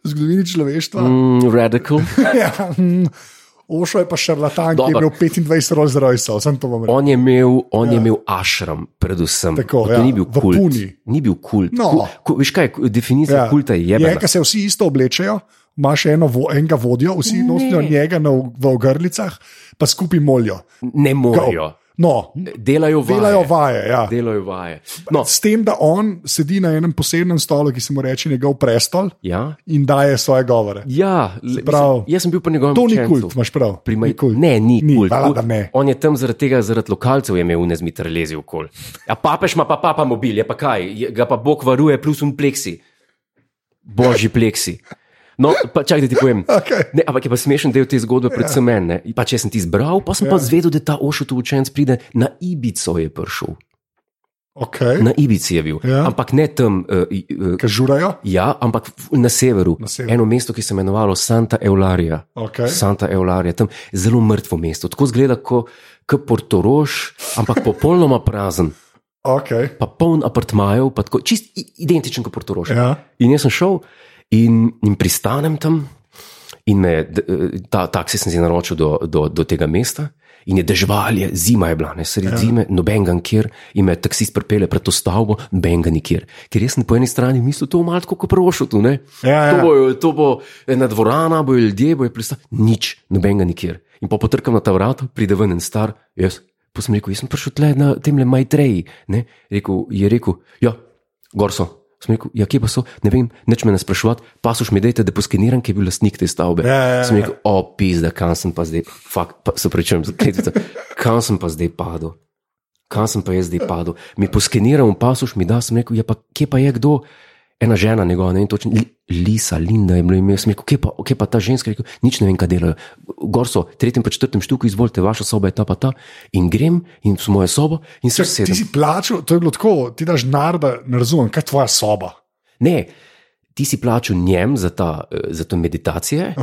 Speaker 2: v zgodovini človeštva. Mm.
Speaker 1: Mm, radical.
Speaker 2: Ja, mm, Ošo je pa šarlatan, ki je
Speaker 1: Dobro.
Speaker 2: imel 25 Rolls Roycev, sem to vam rekel.
Speaker 1: On je imel, on ja. je imel ašram, predvsem.
Speaker 2: Tako,
Speaker 1: to
Speaker 2: ja,
Speaker 1: ni bil
Speaker 2: v
Speaker 1: kult.
Speaker 2: Puni.
Speaker 1: Ni bil kult.
Speaker 2: No.
Speaker 1: Ku, ku, veš kaj, definicija ja. kulta je
Speaker 2: Je,
Speaker 1: jebena.
Speaker 2: ker se vsi isto oblečejo, imaš eno, vo, enega vodjo, vsi
Speaker 1: Ne.
Speaker 2: nosijo njega na, v- v ogrlicah, pa skupaj molijo.
Speaker 1: Ne morejo.
Speaker 2: No,
Speaker 1: Delajo vaje.
Speaker 2: delajo vaje. Ja.
Speaker 1: Delajo vaje. No,
Speaker 2: S tem, da on sedi na enem posebnem stolu, ki se mu reče njegov prestol
Speaker 1: ja,
Speaker 2: in daje svoje govore.
Speaker 1: ja le,
Speaker 2: pravi,
Speaker 1: mislim, jaz sem bil pri njegovem
Speaker 2: To ni
Speaker 1: učencu.
Speaker 2: kult, imaš prav.
Speaker 1: Pri Maj-
Speaker 2: ni kult.
Speaker 1: Ne, ni,
Speaker 2: Ni,
Speaker 1: kult.
Speaker 2: hvala, da ne.
Speaker 1: On je tam zaradi tega, zaradi lokalcev je imel unezmitrlezi okol. A papež ima pa papa mobil, je pa kaj, je, ga pa Bog varuje, plus un pleksi. Božji pleksi. No, pa čakaj, da ti povem.
Speaker 2: Okej.
Speaker 1: Ne, ampak je pa smešen del te zgodbe,
Speaker 2: Ja.
Speaker 1: predvsem meni. ne. Pa če sem ti izbral, pa sem ja. pa zvedel, da ta ošotov učenec pride na Ibico je prišel.
Speaker 2: Okay.
Speaker 1: Na Ibici je bil.
Speaker 2: Ja.
Speaker 1: Ja. Ampak ne tam. Uh, uh,
Speaker 2: Ker žurajo.
Speaker 1: Ja, ampak v- na severu,
Speaker 2: Na
Speaker 1: na
Speaker 2: severu.
Speaker 1: severu. eno mesto, ki se je imenovalo Santa Eularija.
Speaker 2: Okay.
Speaker 1: Santa Eularija, tam zelo mrtvo mesto, tako zgleda kot Portorož, ampak popolnoma prazen,
Speaker 2: Okay.
Speaker 1: pa poln apartmajev, pa tako čist i- identičen kot Portorož.
Speaker 2: Ja.
Speaker 1: In jaz sem šel in, in pristanem tam, in me, d- eh, ta taksi sem si naročil do, do, do tega mesta. In je dežvalje, zima je bila, ne sredi ja. zime, noben ga nikjer, in me taksist pripelje pred to stavbo, noben ga nikjer. Ker jaz sem po eni strani mislil, to je malo tako kot prošlo tu, ne?
Speaker 2: Ja, ja.
Speaker 1: To, bo, to bo ena dvorana, bojo ljudje, bojo pristali, nič, noben ga nikjer. In pa potrkam na ta vrata, pride ven en star, jaz. Pa sem rekel, jaz sem prišel tle na tem le majtreji. ne. Rekel, je rekel, ja, gor so. Sem rekel, ja, kje pa so, ne vem, neč me ne sprašovati, pa so še mi dejte, da poskeniram, ki je bil lastnik te stavbe.
Speaker 2: Ja, ja, ja.
Speaker 1: Sem rekel, opis, da kam sem pa zdaj, fakt, pa, se prečujem, kam sem pa zdaj padel kam sem pa jaz zdaj padel. Mi poskeniral in pasuš mi da, sem rekel, ja, pa kje pa je kdo, ena žena njegova, ne vem točno, Li- Lisa, Linda je bila ime, sem rekel, kje pa, kje pa ta ženska, Je rekel, nič ne vem, kaj delajo. Gor so, tretjem pa četrtem štuku, izvolite, vaša soba je ta pa ta. In grem in v mojo sobo in se
Speaker 2: Ti
Speaker 1: sedem.
Speaker 2: si plačal, to je bilo tako, ti daš narda, ne razumem, kaj je tvoja soba.
Speaker 1: Ne, ti si plačal njem za, ta, eh, za to meditacije,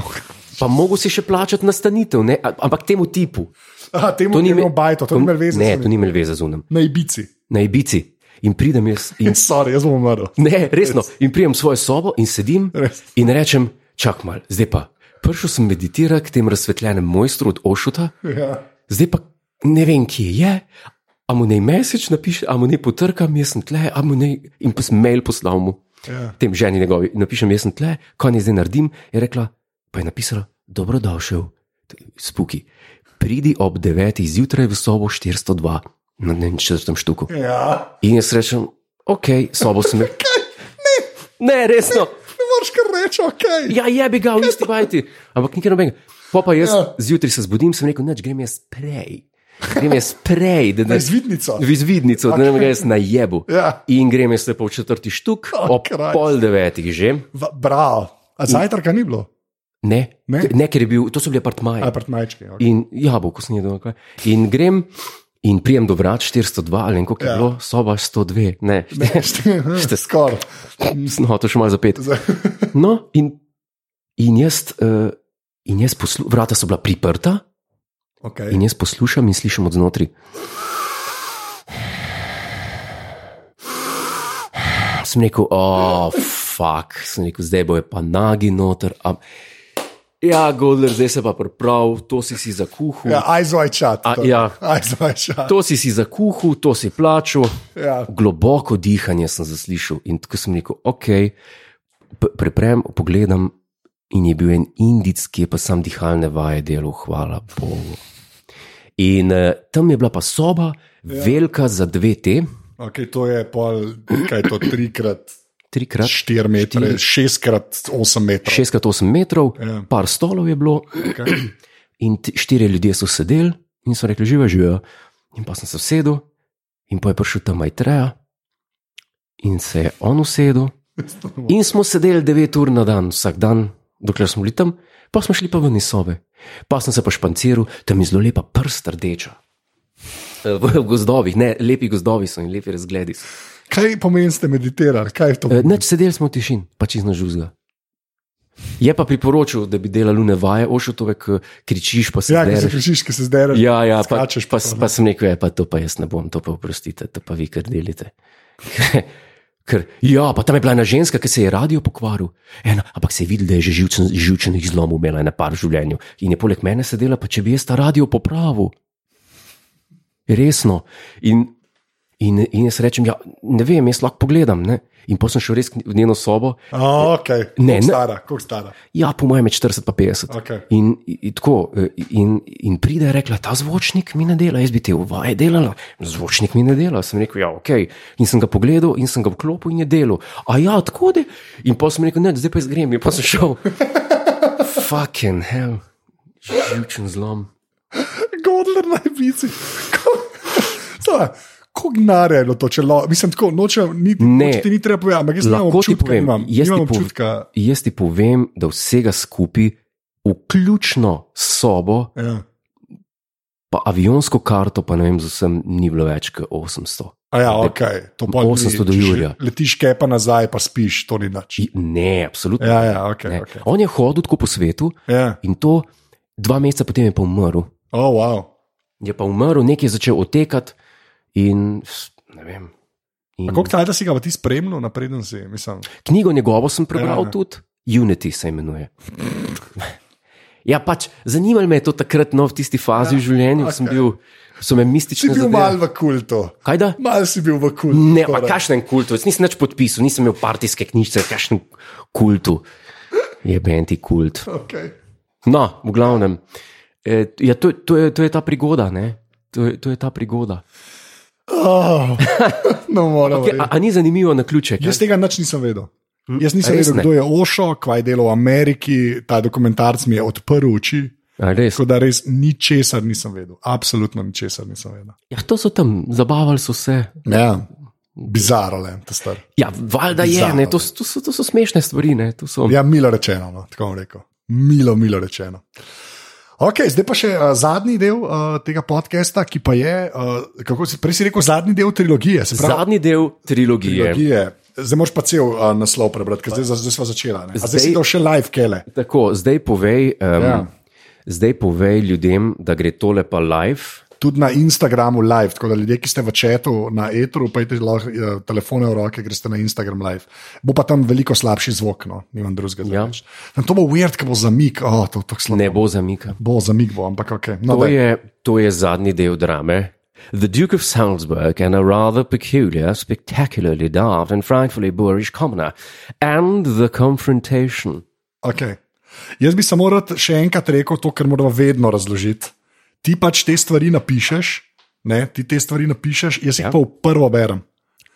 Speaker 1: pa mogo si še plačati nastanitev, ne? A- ampak temu tipu.
Speaker 2: Aha, temu ni imel bajto, to ni imel veze.
Speaker 1: Ne,
Speaker 2: z-
Speaker 1: to ni imel veze z unem.
Speaker 2: Na ibici.
Speaker 1: Na ibici. In pridem jaz in
Speaker 2: Sorry, jaz bom umrl.
Speaker 1: Ne, resno. In prijem v svojo sobo in sedim
Speaker 2: Res.
Speaker 1: Res. in rečem, čak mal, zdaj pa. Prišel sem meditirati k tem razsvetljenem mojstru od Ošuta,
Speaker 2: Ja.
Speaker 1: zdaj pa ne vem, kje je. A mu ne mesič napiše, a mu ne potrkam, jaz sem tle, a mu ne. In pa sem mail poslal mu,
Speaker 2: Ja.
Speaker 1: tem ženi njegovi, napišem, jaz sem tle, kaj naj zdaj naredim. Je rekla, pa je napisala, dobrodošel, spuki. Pridi ob 9. zjutraj v sobo 402, na ne vem, četrtem štuku.
Speaker 2: ja.
Speaker 1: In jaz rečem, ok, sobo sem. Kaj? Ne, ne, resno.
Speaker 2: Ne moreš kar reči, ok.
Speaker 1: Ja, je bi ga v isti bajti. Ampak nikjer nobenega. Pa pa jaz
Speaker 2: Ja.
Speaker 1: ja. zjutraj se zbudim, sem rekel, neč grem jaz prej. Grem jaz prej, da ne
Speaker 2: Na izvidnico.
Speaker 1: V izvidnico, da ne grem jaz na jebu.
Speaker 2: Ja. Ah,
Speaker 1: In grem jaz lepo v četrti štuk,
Speaker 2: O,
Speaker 1: ob
Speaker 2: kraj.
Speaker 1: pol devetih že.
Speaker 2: V- Bravo. A zajtrka ni bilo,
Speaker 1: Ne,
Speaker 2: Ne?
Speaker 1: ne? ne ker je bil, to so bili apartmaji.
Speaker 2: a partmajčki. Okay.
Speaker 1: In jabolko sem jedel. kaj. In grem in prijem do vrat 402 ali ne, koliko ja.
Speaker 2: Ja.
Speaker 1: je bilo, soba 102. Ne,
Speaker 2: Ste
Speaker 1: Šte-
Speaker 2: skoraj.
Speaker 1: No, to še malo zapet. No, in, in jaz, uh, in jaz poslu, vrata so bila priprta,
Speaker 2: Okay.
Speaker 1: in jaz poslušam in slišim od znotraj. Sem rekel, oh, fuck, sem rekel, zdaj bo je pa nagi noter. A... Ja, Golder, zdaj se pa priprav, to si si zakuhal.
Speaker 2: Ja, ajzvaj čat.
Speaker 1: A, ja.
Speaker 2: Ajzvaj čat.
Speaker 1: To si si zakuhal, to si plačal.
Speaker 2: Ja.
Speaker 1: Globoko dihanje sem zaslišal in tako sem rekel, ok, p- preprem, pogledam, In je bil en indic, ki je pa sam dihalne vaje delal, hvala Bogu. In uh, tam je bila pa soba, ja. velika za dve te,
Speaker 2: Okay, to je pol, kaj je to, trikrat,
Speaker 1: trikrat,
Speaker 2: štiri metre, šestkrat, osem metrov.
Speaker 1: 6x8 metrov,
Speaker 2: Ja.
Speaker 1: ja. par stolov je bilo,
Speaker 2: Okay.
Speaker 1: in t- štirje ljudje so sedeli in so rekli: Živijo, živijo. In pa sem se usedel, in pa je prišel tam Majtreja, in se je on usedel. In smo sedeli 9 ur na dan, vsak dan, dokler smo bili tam, pa smo šli pa ven iz sobe. Pa sem se pa španciral, tam je zelo lepa prst rdeča. Eh, V v gozdovih, ne, lepi gozdovi so in lepi razgledi. so.
Speaker 2: Kaj pomeni, ste meditirali? Kaj je to?
Speaker 1: Eh, Nič sedeli smo v tišini, pa čizna žuzga. Je pa priporočil, da bi delali lune vaje, ošotove, ko kričiš, pa se
Speaker 2: Ja, ki se
Speaker 1: dereš.
Speaker 2: kričiš, ki se zdaj reče.
Speaker 1: Ja, ja pa,
Speaker 2: skačeš
Speaker 1: pa,
Speaker 2: po to, ne.
Speaker 1: pa sem rekel, je, pa to pa jaz ne bom, to pa oprostite, to pa vi kar delite. Ker, ja, pa tam je bila ena ženska, ki se je radio pokvaril. Ena, ampak se je videl, da je že živčen, živčenih zlomov imela na par v življenju. In je poleg mene sedela, pa če bi jaz ta radio popravil. Resno. In, in, in jaz rečem, ja, ne vem, jaz lahko pogledam. Ne? In potem sem šel res k- v njeno sobo,
Speaker 2: A, okay.
Speaker 1: Ne, ne.
Speaker 2: Kako stara, kako stara.
Speaker 1: ja, po mojem, je 40 pa 50.
Speaker 2: Okay.
Speaker 1: In, in, tako, eh, in, in pride in rekla, ta zvočnik mi ne dela, jaz bi te uvaje delala, zvočnik mi ne dela. Sem rekel, ja, ok. In sem ga pogledal in sem ga vklopil in je delal. A ja, tako da. In pa sem rekel, ne, zdaj pa jaz grem, in pa sem šel. Fucking hell, živčen zlom.
Speaker 2: Godler naj bi si. Kako gnare je bilo to, če lo, mislim, tako nočem, ni,
Speaker 1: Ne.
Speaker 2: noče ti ni treba povedati, ampak jaz imam
Speaker 1: Lahko ti
Speaker 2: občutka,
Speaker 1: povem,
Speaker 2: imam,
Speaker 1: jaz ti
Speaker 2: imam
Speaker 1: pov-
Speaker 2: občutka.
Speaker 1: Jaz ti povem, da vsega skupaj, vključno s sobo,
Speaker 2: Ja.
Speaker 1: pa avionsko karto, pa ne vem, z vsem ni bilo več kot 800.
Speaker 2: A ja, okay. to pol ni,
Speaker 1: 800 do
Speaker 2: če
Speaker 1: jurja.
Speaker 2: Letiš kepa nazaj, pa spiš, to ni nič.
Speaker 1: I, ne, absolutno.
Speaker 2: Ja, ja, ok.
Speaker 1: Ne.
Speaker 2: okay.
Speaker 1: On je hodil tako po svetu,
Speaker 2: Ja.
Speaker 1: In to dva meseca potem je pa umrl.
Speaker 2: Oh, wow.
Speaker 1: Je pa umrl, nekaj je začel otekati in s- ne vem. In
Speaker 2: A Koliko časa si ga pa ti spremljal, napreden si? Mislim,
Speaker 1: knjigo njegovo sem prebral
Speaker 2: Ja, ja.
Speaker 1: tudi, Unity se imenuje. Ja, pač zanimalo me je to takrat, no, v tisti fazi v življenju, okay. sem
Speaker 2: okej.
Speaker 1: bil, so me
Speaker 2: Ja, si
Speaker 1: mistični.
Speaker 2: bil mal v kultu,
Speaker 1: Kaj da?
Speaker 2: mal si bil v kultu.
Speaker 1: Ne, pa
Speaker 2: torej.
Speaker 1: kašnem kultu, jaz nisem nič podpisal, nisem imel partijske knjižice, kašnem kultu. Je benti kult.
Speaker 2: Okay.
Speaker 1: No, v glavnem. E, ja, to, to, je, to je ta prigoda, ne? To je, to je ta prigoda.
Speaker 2: Oh, no, moram.
Speaker 1: Ja, a, a ni zanimivo na ključe?
Speaker 2: Jaz tega nič nisem vedel. Jaz nisem
Speaker 1: res ne?
Speaker 2: vedel, kdo je Ošo, kaj je delal v Ameriki. Ta dokumentarc mi je odprl oči.
Speaker 1: Res,
Speaker 2: Tako da res ničesar nisem vedel. Absolutno ničesar nisem vedel.
Speaker 1: ja, to so tam, zabavali so se.
Speaker 2: Ja. Bizarno je, ta star.
Speaker 1: Ja, valjda je, ne, to, s- to, so, to so smešne stvari. Ne, to so. Ja.
Speaker 2: Ja, milo rečeno, no, tako bom rekel. Milo, milo rečeno. Okay, zdaj pa še uh, zadnji del uh, tega podcasta, ki pa je, uh, kako si prej si rekel, zadnji del trilogije. se Pravi,
Speaker 1: Zadnji del trilogije.
Speaker 2: trilogije. Zdaj moraš pa cel uh, naslov prebrati, ker zdaj, za- zdaj smo začeli. Zdaj, zdaj si
Speaker 1: Zdaj-
Speaker 2: dal še live kele.
Speaker 1: Tako, zdaj povej, um,
Speaker 2: Ja.
Speaker 1: ja. zdaj povej ljudem, da gre tole pa live.
Speaker 2: Tudi na Instagramu live, tako da ljudje, ki ste v četu na etru, pa idete lahko eh, telefone v roke, greste na Instagram live. Bo pa tam veliko slabši zvok, no, nimam drugega.
Speaker 1: Ja.
Speaker 2: Ja. To bo weird, ker bo zamik, oh, to, to slabo.
Speaker 1: Ne bo zamika.
Speaker 2: bo zamik, bo, ampak ok. No,
Speaker 1: To
Speaker 2: daj.
Speaker 1: je, to je zadnji del drame. The Duke of Salzburg and a rather peculiar, spectacularly daft and frightfully boorish commoner, and the confrontation.
Speaker 2: Okay. Jaz bi samo rad še enkrat rekel to, kar moramo vedno razložiti. Ti pač te stvari napišeš, ne? ti te stvari napišeš, jaz jih
Speaker 1: Ja.
Speaker 2: ja. pa v prvo berem.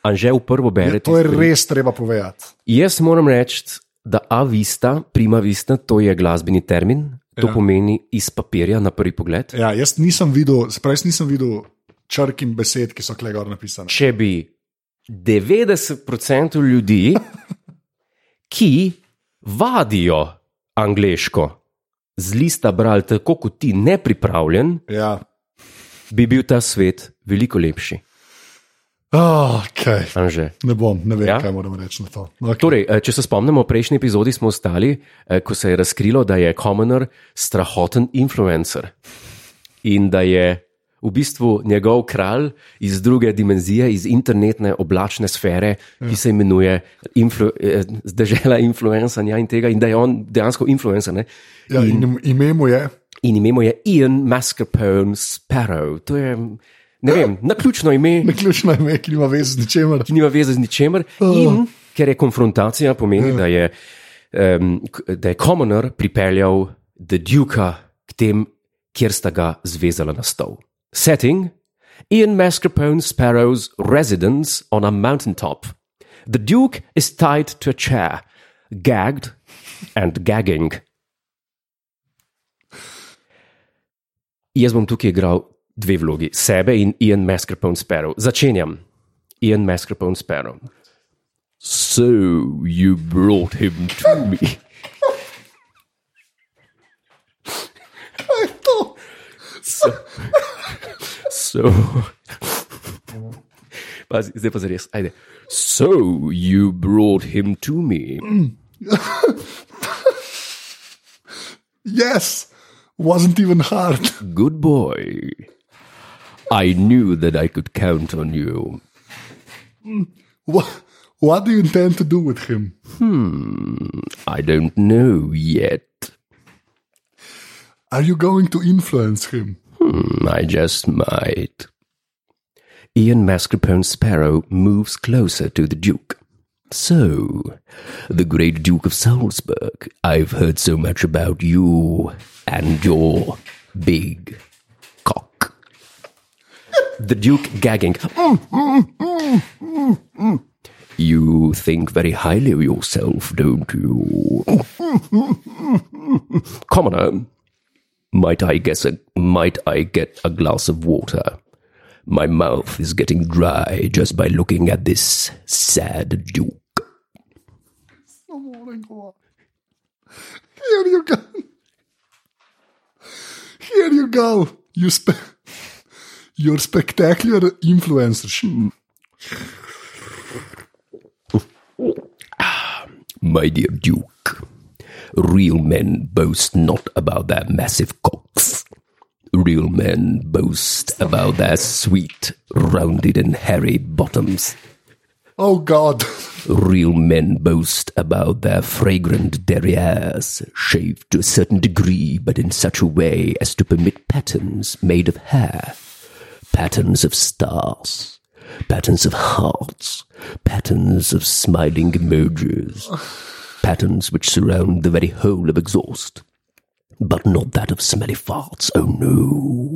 Speaker 1: Anže v prvo
Speaker 2: Je,
Speaker 1: berete.
Speaker 2: Ja, to je res treba povedati.
Speaker 1: Jaz moram reči, da avista, prima vista, to je glasbeni termin, to
Speaker 2: Ja.
Speaker 1: ja. pomeni iz papirja na prvi pogled. Ja.
Speaker 2: Ja, jaz nisem videl, se pravi, jaz nisem videl črk in besed, ki so klegor napisane.
Speaker 1: Če bi 90% ljudi, ki vadijo angliško, z lista brali tako kot ti, nepripravljen,
Speaker 2: Ja.
Speaker 1: bi bil ta svet veliko lepši.
Speaker 2: Okay.
Speaker 1: Anže.
Speaker 2: Ne bom, ne vem, ja?
Speaker 1: Ja?
Speaker 2: kaj moram reči na to. Okay.
Speaker 1: Torej, eh, če se spomnimo, v prejšnji epizodi smo ostali, eh, ko se je razkrilo, da je Commoner strahoten influencer in da je v bistvu njegov kralj iz druge dimenzije, iz internetne oblačne sfere, ki se imenuje influ, eh, država influencanja in tega, in da je on dejansko influencer. Ne?
Speaker 2: Ja, in, ime mu je,
Speaker 1: In ime mu je Ian Mascarpone Sparrow. To je, ne vem, naključno ime
Speaker 2: ključno ime, ki nima veze z ničemer.
Speaker 1: ki nima veze z ničemer. In ker je konfrontacija, pomeni, da je um, da je Commoner pripeljal The Duke k tem, kjer sta ga zvezala na stol. Setting: Ian Mascarpone Sparrow's residence on a mountaintop. The Duke is tied to a chair, gagged and gagging. Jaz bom tukaj igral dve vlogi, sebe in Ian Mascarpone Sparrow. Začenjam. Ian Mascarpone Sparrow. So you brought him to me.
Speaker 3: Kaj je to?
Speaker 1: So. Pazi, zdaj pa zares, ajde. So you brought him to me.
Speaker 3: Yes, wasn't even hard.
Speaker 1: Good boy. I knew that I could count on you.
Speaker 3: What, what do you intend to do with him?
Speaker 1: I don't know yet.
Speaker 3: Are you going to influence him?
Speaker 1: I just might. Ian Mascarpone Sparrow moves closer to the Duke. So, the great Duke of Salzburg, I've heard so much about you and your big cock. The Duke gagging. You think very highly of yourself, don't you? Commoner, might I guess a, might I get a glass of water? My mouth is getting dry just by looking at this sad duke.
Speaker 3: No more go. Here you go. Here you go. You spe- your spectacular influencership.
Speaker 1: My dear duke, real men boast not about their massive cocks. Real men boast about their sweet, rounded, and hairy bottoms.
Speaker 3: Oh God.
Speaker 1: Real men boast about their fragrant derrieres, shaved to a certain degree, but in such a way as to permit patterns made of hair, patterns of stars, patterns of hearts, patterns of smiling emojis, patterns which surround the very whole of exhaust. But not that of smelly farts, oh no.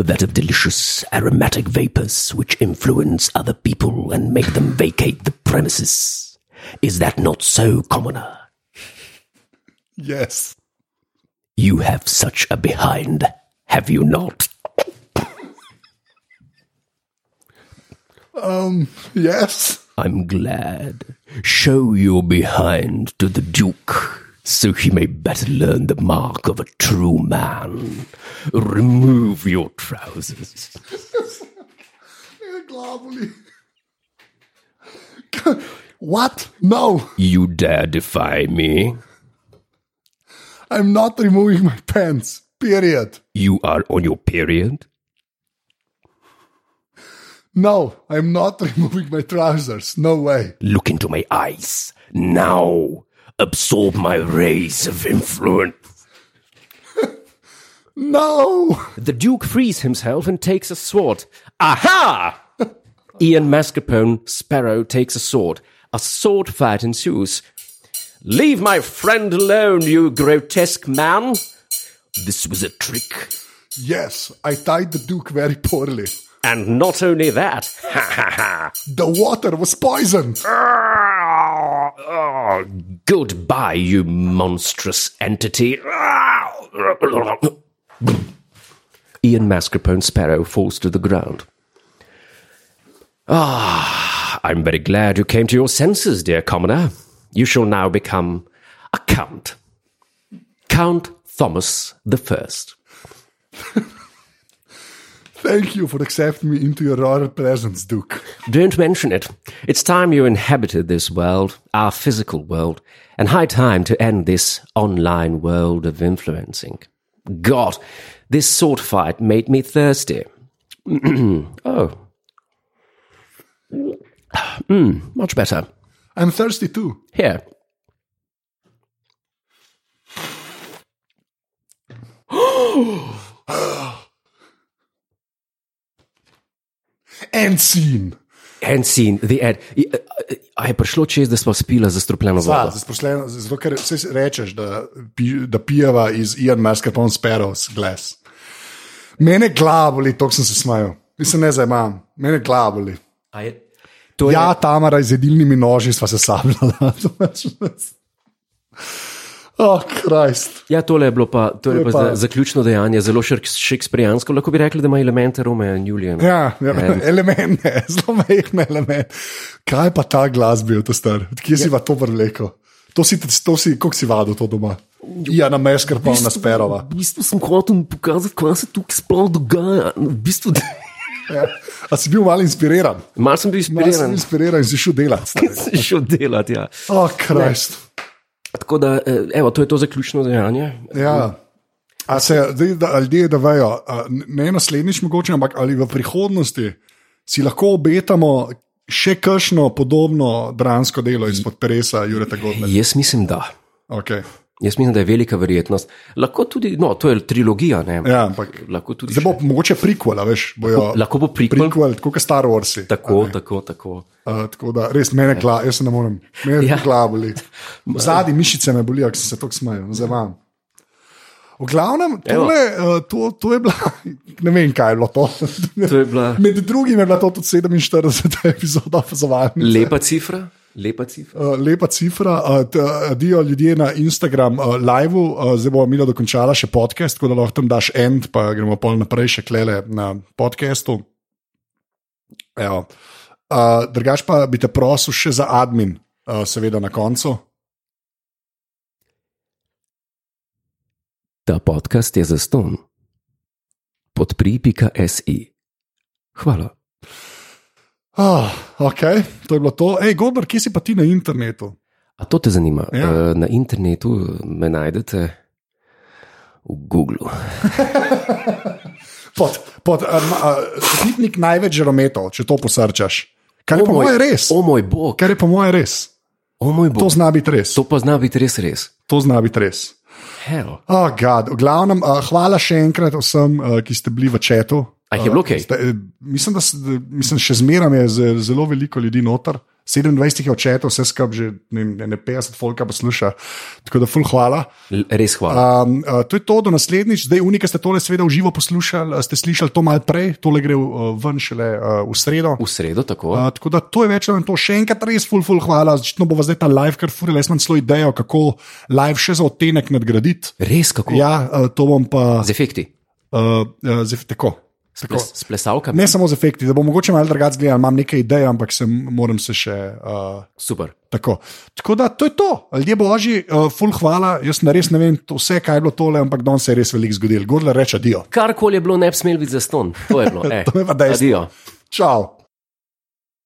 Speaker 1: That of delicious aromatic vapors which influence other people and make them vacate the premises. Is that not so, commoner?
Speaker 3: Yes.
Speaker 1: You have such a behind, have you not?
Speaker 3: Yes.
Speaker 1: I'm glad. Show your behind to the Duke, so he may better learn the mark of a true man. Remove your trousers.
Speaker 3: Globally. What? No,
Speaker 1: You dare defy me?
Speaker 3: I'm not removing my pants. Period.
Speaker 1: You are on your period?
Speaker 3: No, I'm not removing my trousers. No way.
Speaker 1: Look into my eyes. Now, absorb my rays of influence.
Speaker 3: No.
Speaker 1: The Duke frees himself and takes a sword. Aha! Ian Mascarpone Sparrow takes a sword. A sword fight ensues. Leave my friend alone, you grotesque man! This was a trick.
Speaker 3: Yes, I tied the Duke very poorly.
Speaker 1: And not only that. Ha ha ha!
Speaker 3: The water was poisoned.
Speaker 1: Ah, ah, Goodbye, you monstrous entity. Ah. Ian Mascarpone Sparrow falls to the ground. Ah, I'm very glad you came to your senses, dear commoner. You shall now become a count. Count Thomas the First.
Speaker 3: Thank you for accepting me into your royal presence, Duke.
Speaker 1: Don't mention it. It's time you inhabited this world, our physical world, and high time to end this online world of influencing. God, this sword fight made me thirsty. oh. Mm, much better.
Speaker 3: I'm thirsty too.
Speaker 1: Here.
Speaker 3: End scene.
Speaker 1: en scene, the ad. I- A je prišlo čez, da smo spila zastrupljeno
Speaker 2: Ja,
Speaker 1: vodo.
Speaker 2: zaposlen- Zato, ker se rečeš, da, pi- da pijeva iz Ian Marska, pa on sparrows glas. Mene glavoli, to sem se smajal. Mislim, ne zajemam, mene glavoli.
Speaker 1: A je- To je,
Speaker 2: Ja, Tamara z jedilnimi noži sva se sabljala. oh, Krist.
Speaker 1: ja, tole je bilo pa, to je
Speaker 2: je
Speaker 1: pa
Speaker 2: pa-
Speaker 1: za, zaključno dejanje, zelo šekspirijansko. Lahko bi rekli, da ima elemente Romeo in Julian.
Speaker 2: Ja, ja elemente, zelo majhne elemente. Kaj pa ta glas bil, ta star? Od Kje si pa to vrleko? To si, to si, kako si vadil to doma? Ja, na meškar pa na sperova.
Speaker 1: V bistvu sem hotel pokazati, kaj se tukaj sploh dogaja. V bistvu,
Speaker 2: Ja. A si bil malo inspiriran?
Speaker 1: Mal sem bil
Speaker 2: Malo si
Speaker 1: inspiriran,
Speaker 2: bil inspiriran in si šel delati.
Speaker 1: sem šel delati. Ja.
Speaker 2: Oh, Krist.
Speaker 1: Tako da, eh, evo, to je to zaključno dejanje.
Speaker 2: Ja. A se zdaj, da ljudje da vejo, a ne naslednjič mogoče, ampak ali v prihodnosti si lahko obetamo še kakšno podobno dransko delo izpod peresa, Jureta Godla.
Speaker 1: Jaz mislim, da.
Speaker 2: Okay.
Speaker 1: Jaz mislim, da je velika verjetnost. Lahko tudi, no, to je trilogija. Ne?
Speaker 2: Ja, ampak
Speaker 1: Lahko tudi.
Speaker 2: zdaj bo mogoče prikvala, veš, bojo.
Speaker 1: Lahko bo prikol.
Speaker 2: Prikval, kot Star Wars.
Speaker 1: Tako, tako, tako.
Speaker 2: Uh, tako da res mene glava, jaz se ne morem, mene
Speaker 1: Ja.
Speaker 2: ja. glava boli. Zadnji mišice me bolijo, ker sem se tako smejal, za vam. V glavnem,
Speaker 1: Evo.
Speaker 2: tole, uh, to, to je bila, ne vem, kaj je bilo to.
Speaker 1: To je bila
Speaker 2: Med drugim je bila to tudi 47. epizoda opazovalnice.
Speaker 1: lepa cifra. Lepa cifra.
Speaker 2: Uh, lepa cifra. Uh, t- uh, Dio ljudje na Instagram uh, live, uh, zdaj bomo mi dokončala še podcast, tako da lahko tam daš end, pa gremo pol naprej še klele na podkastu. Evo. Uh, drugač pa bi te prosil še za admin, uh, seveda na koncu.
Speaker 1: Ta podcast je zaston. Podpri.si. Hvala.
Speaker 2: Oh, ok, to je bilo to. Hej, Godor, kje si pa ti na internetu?
Speaker 1: A to te zanima? Eh,
Speaker 2: Ja.
Speaker 1: Na internetu me najdete v Googlu.
Speaker 2: Pod, pod um, uh, tipnik največ žarometov, če to posrčaš. Kar je po mojem res.
Speaker 1: O moj bog,
Speaker 2: Kar je po mojem res.
Speaker 1: o moj bog.
Speaker 2: To zna biti res.
Speaker 1: To pa zna biti res res.
Speaker 2: To zna biti res.
Speaker 1: Hell.
Speaker 2: Oh, God. v glavnem, uh, hvala še enkrat vsem, uh, ki ste bili v četu.
Speaker 1: A jih je bilo kaj?
Speaker 2: Ste, eh, mislim, da s- da- mislim, še zmeraj je z- zelo veliko ljudi noter. 27 je v četu, vse skupaj že ne, vem, ne 50 folka posluša. Tako da, ful, hvala.
Speaker 1: L- Res hvala.
Speaker 2: Um, uh, to je to do naslednjič, zdaj unika ste tole seveda v živo poslušali, a ste slišali to mal prej, tole gre uh, ven šele uh, v sredo.
Speaker 1: V sredo tako.
Speaker 2: Uh, tako da to je več ali manj to. Še enkrat res, ful, ful, hvala. Začetno bo zdaj ta live, kar furil, jaz imam svojo idejo, kako live še za odtenek nadgraditi.
Speaker 1: Res kako.
Speaker 2: Ja, uh, to bom pa
Speaker 1: Z efekti.
Speaker 2: uh, uh, zdaj tako.
Speaker 1: S ples- S plesalkami.
Speaker 2: Ne samo z efekti, da bo mogoče malo drugače gledal, imam nekaj idej, ampak se m- moram se še. Uh,
Speaker 1: Super.
Speaker 2: Tako. tako da to je to, ljudje božji, uh, full hvala, jaz na res ne vem to vse, kaj je bilo tole, ampak danes se je res veliko zgodilo. Gorla reče, dio.
Speaker 1: Karkoli je bilo, ne bi smel biti zaston. To je bilo. Eh.
Speaker 2: To je pa dejstvo.
Speaker 1: Adijo.
Speaker 2: Čau.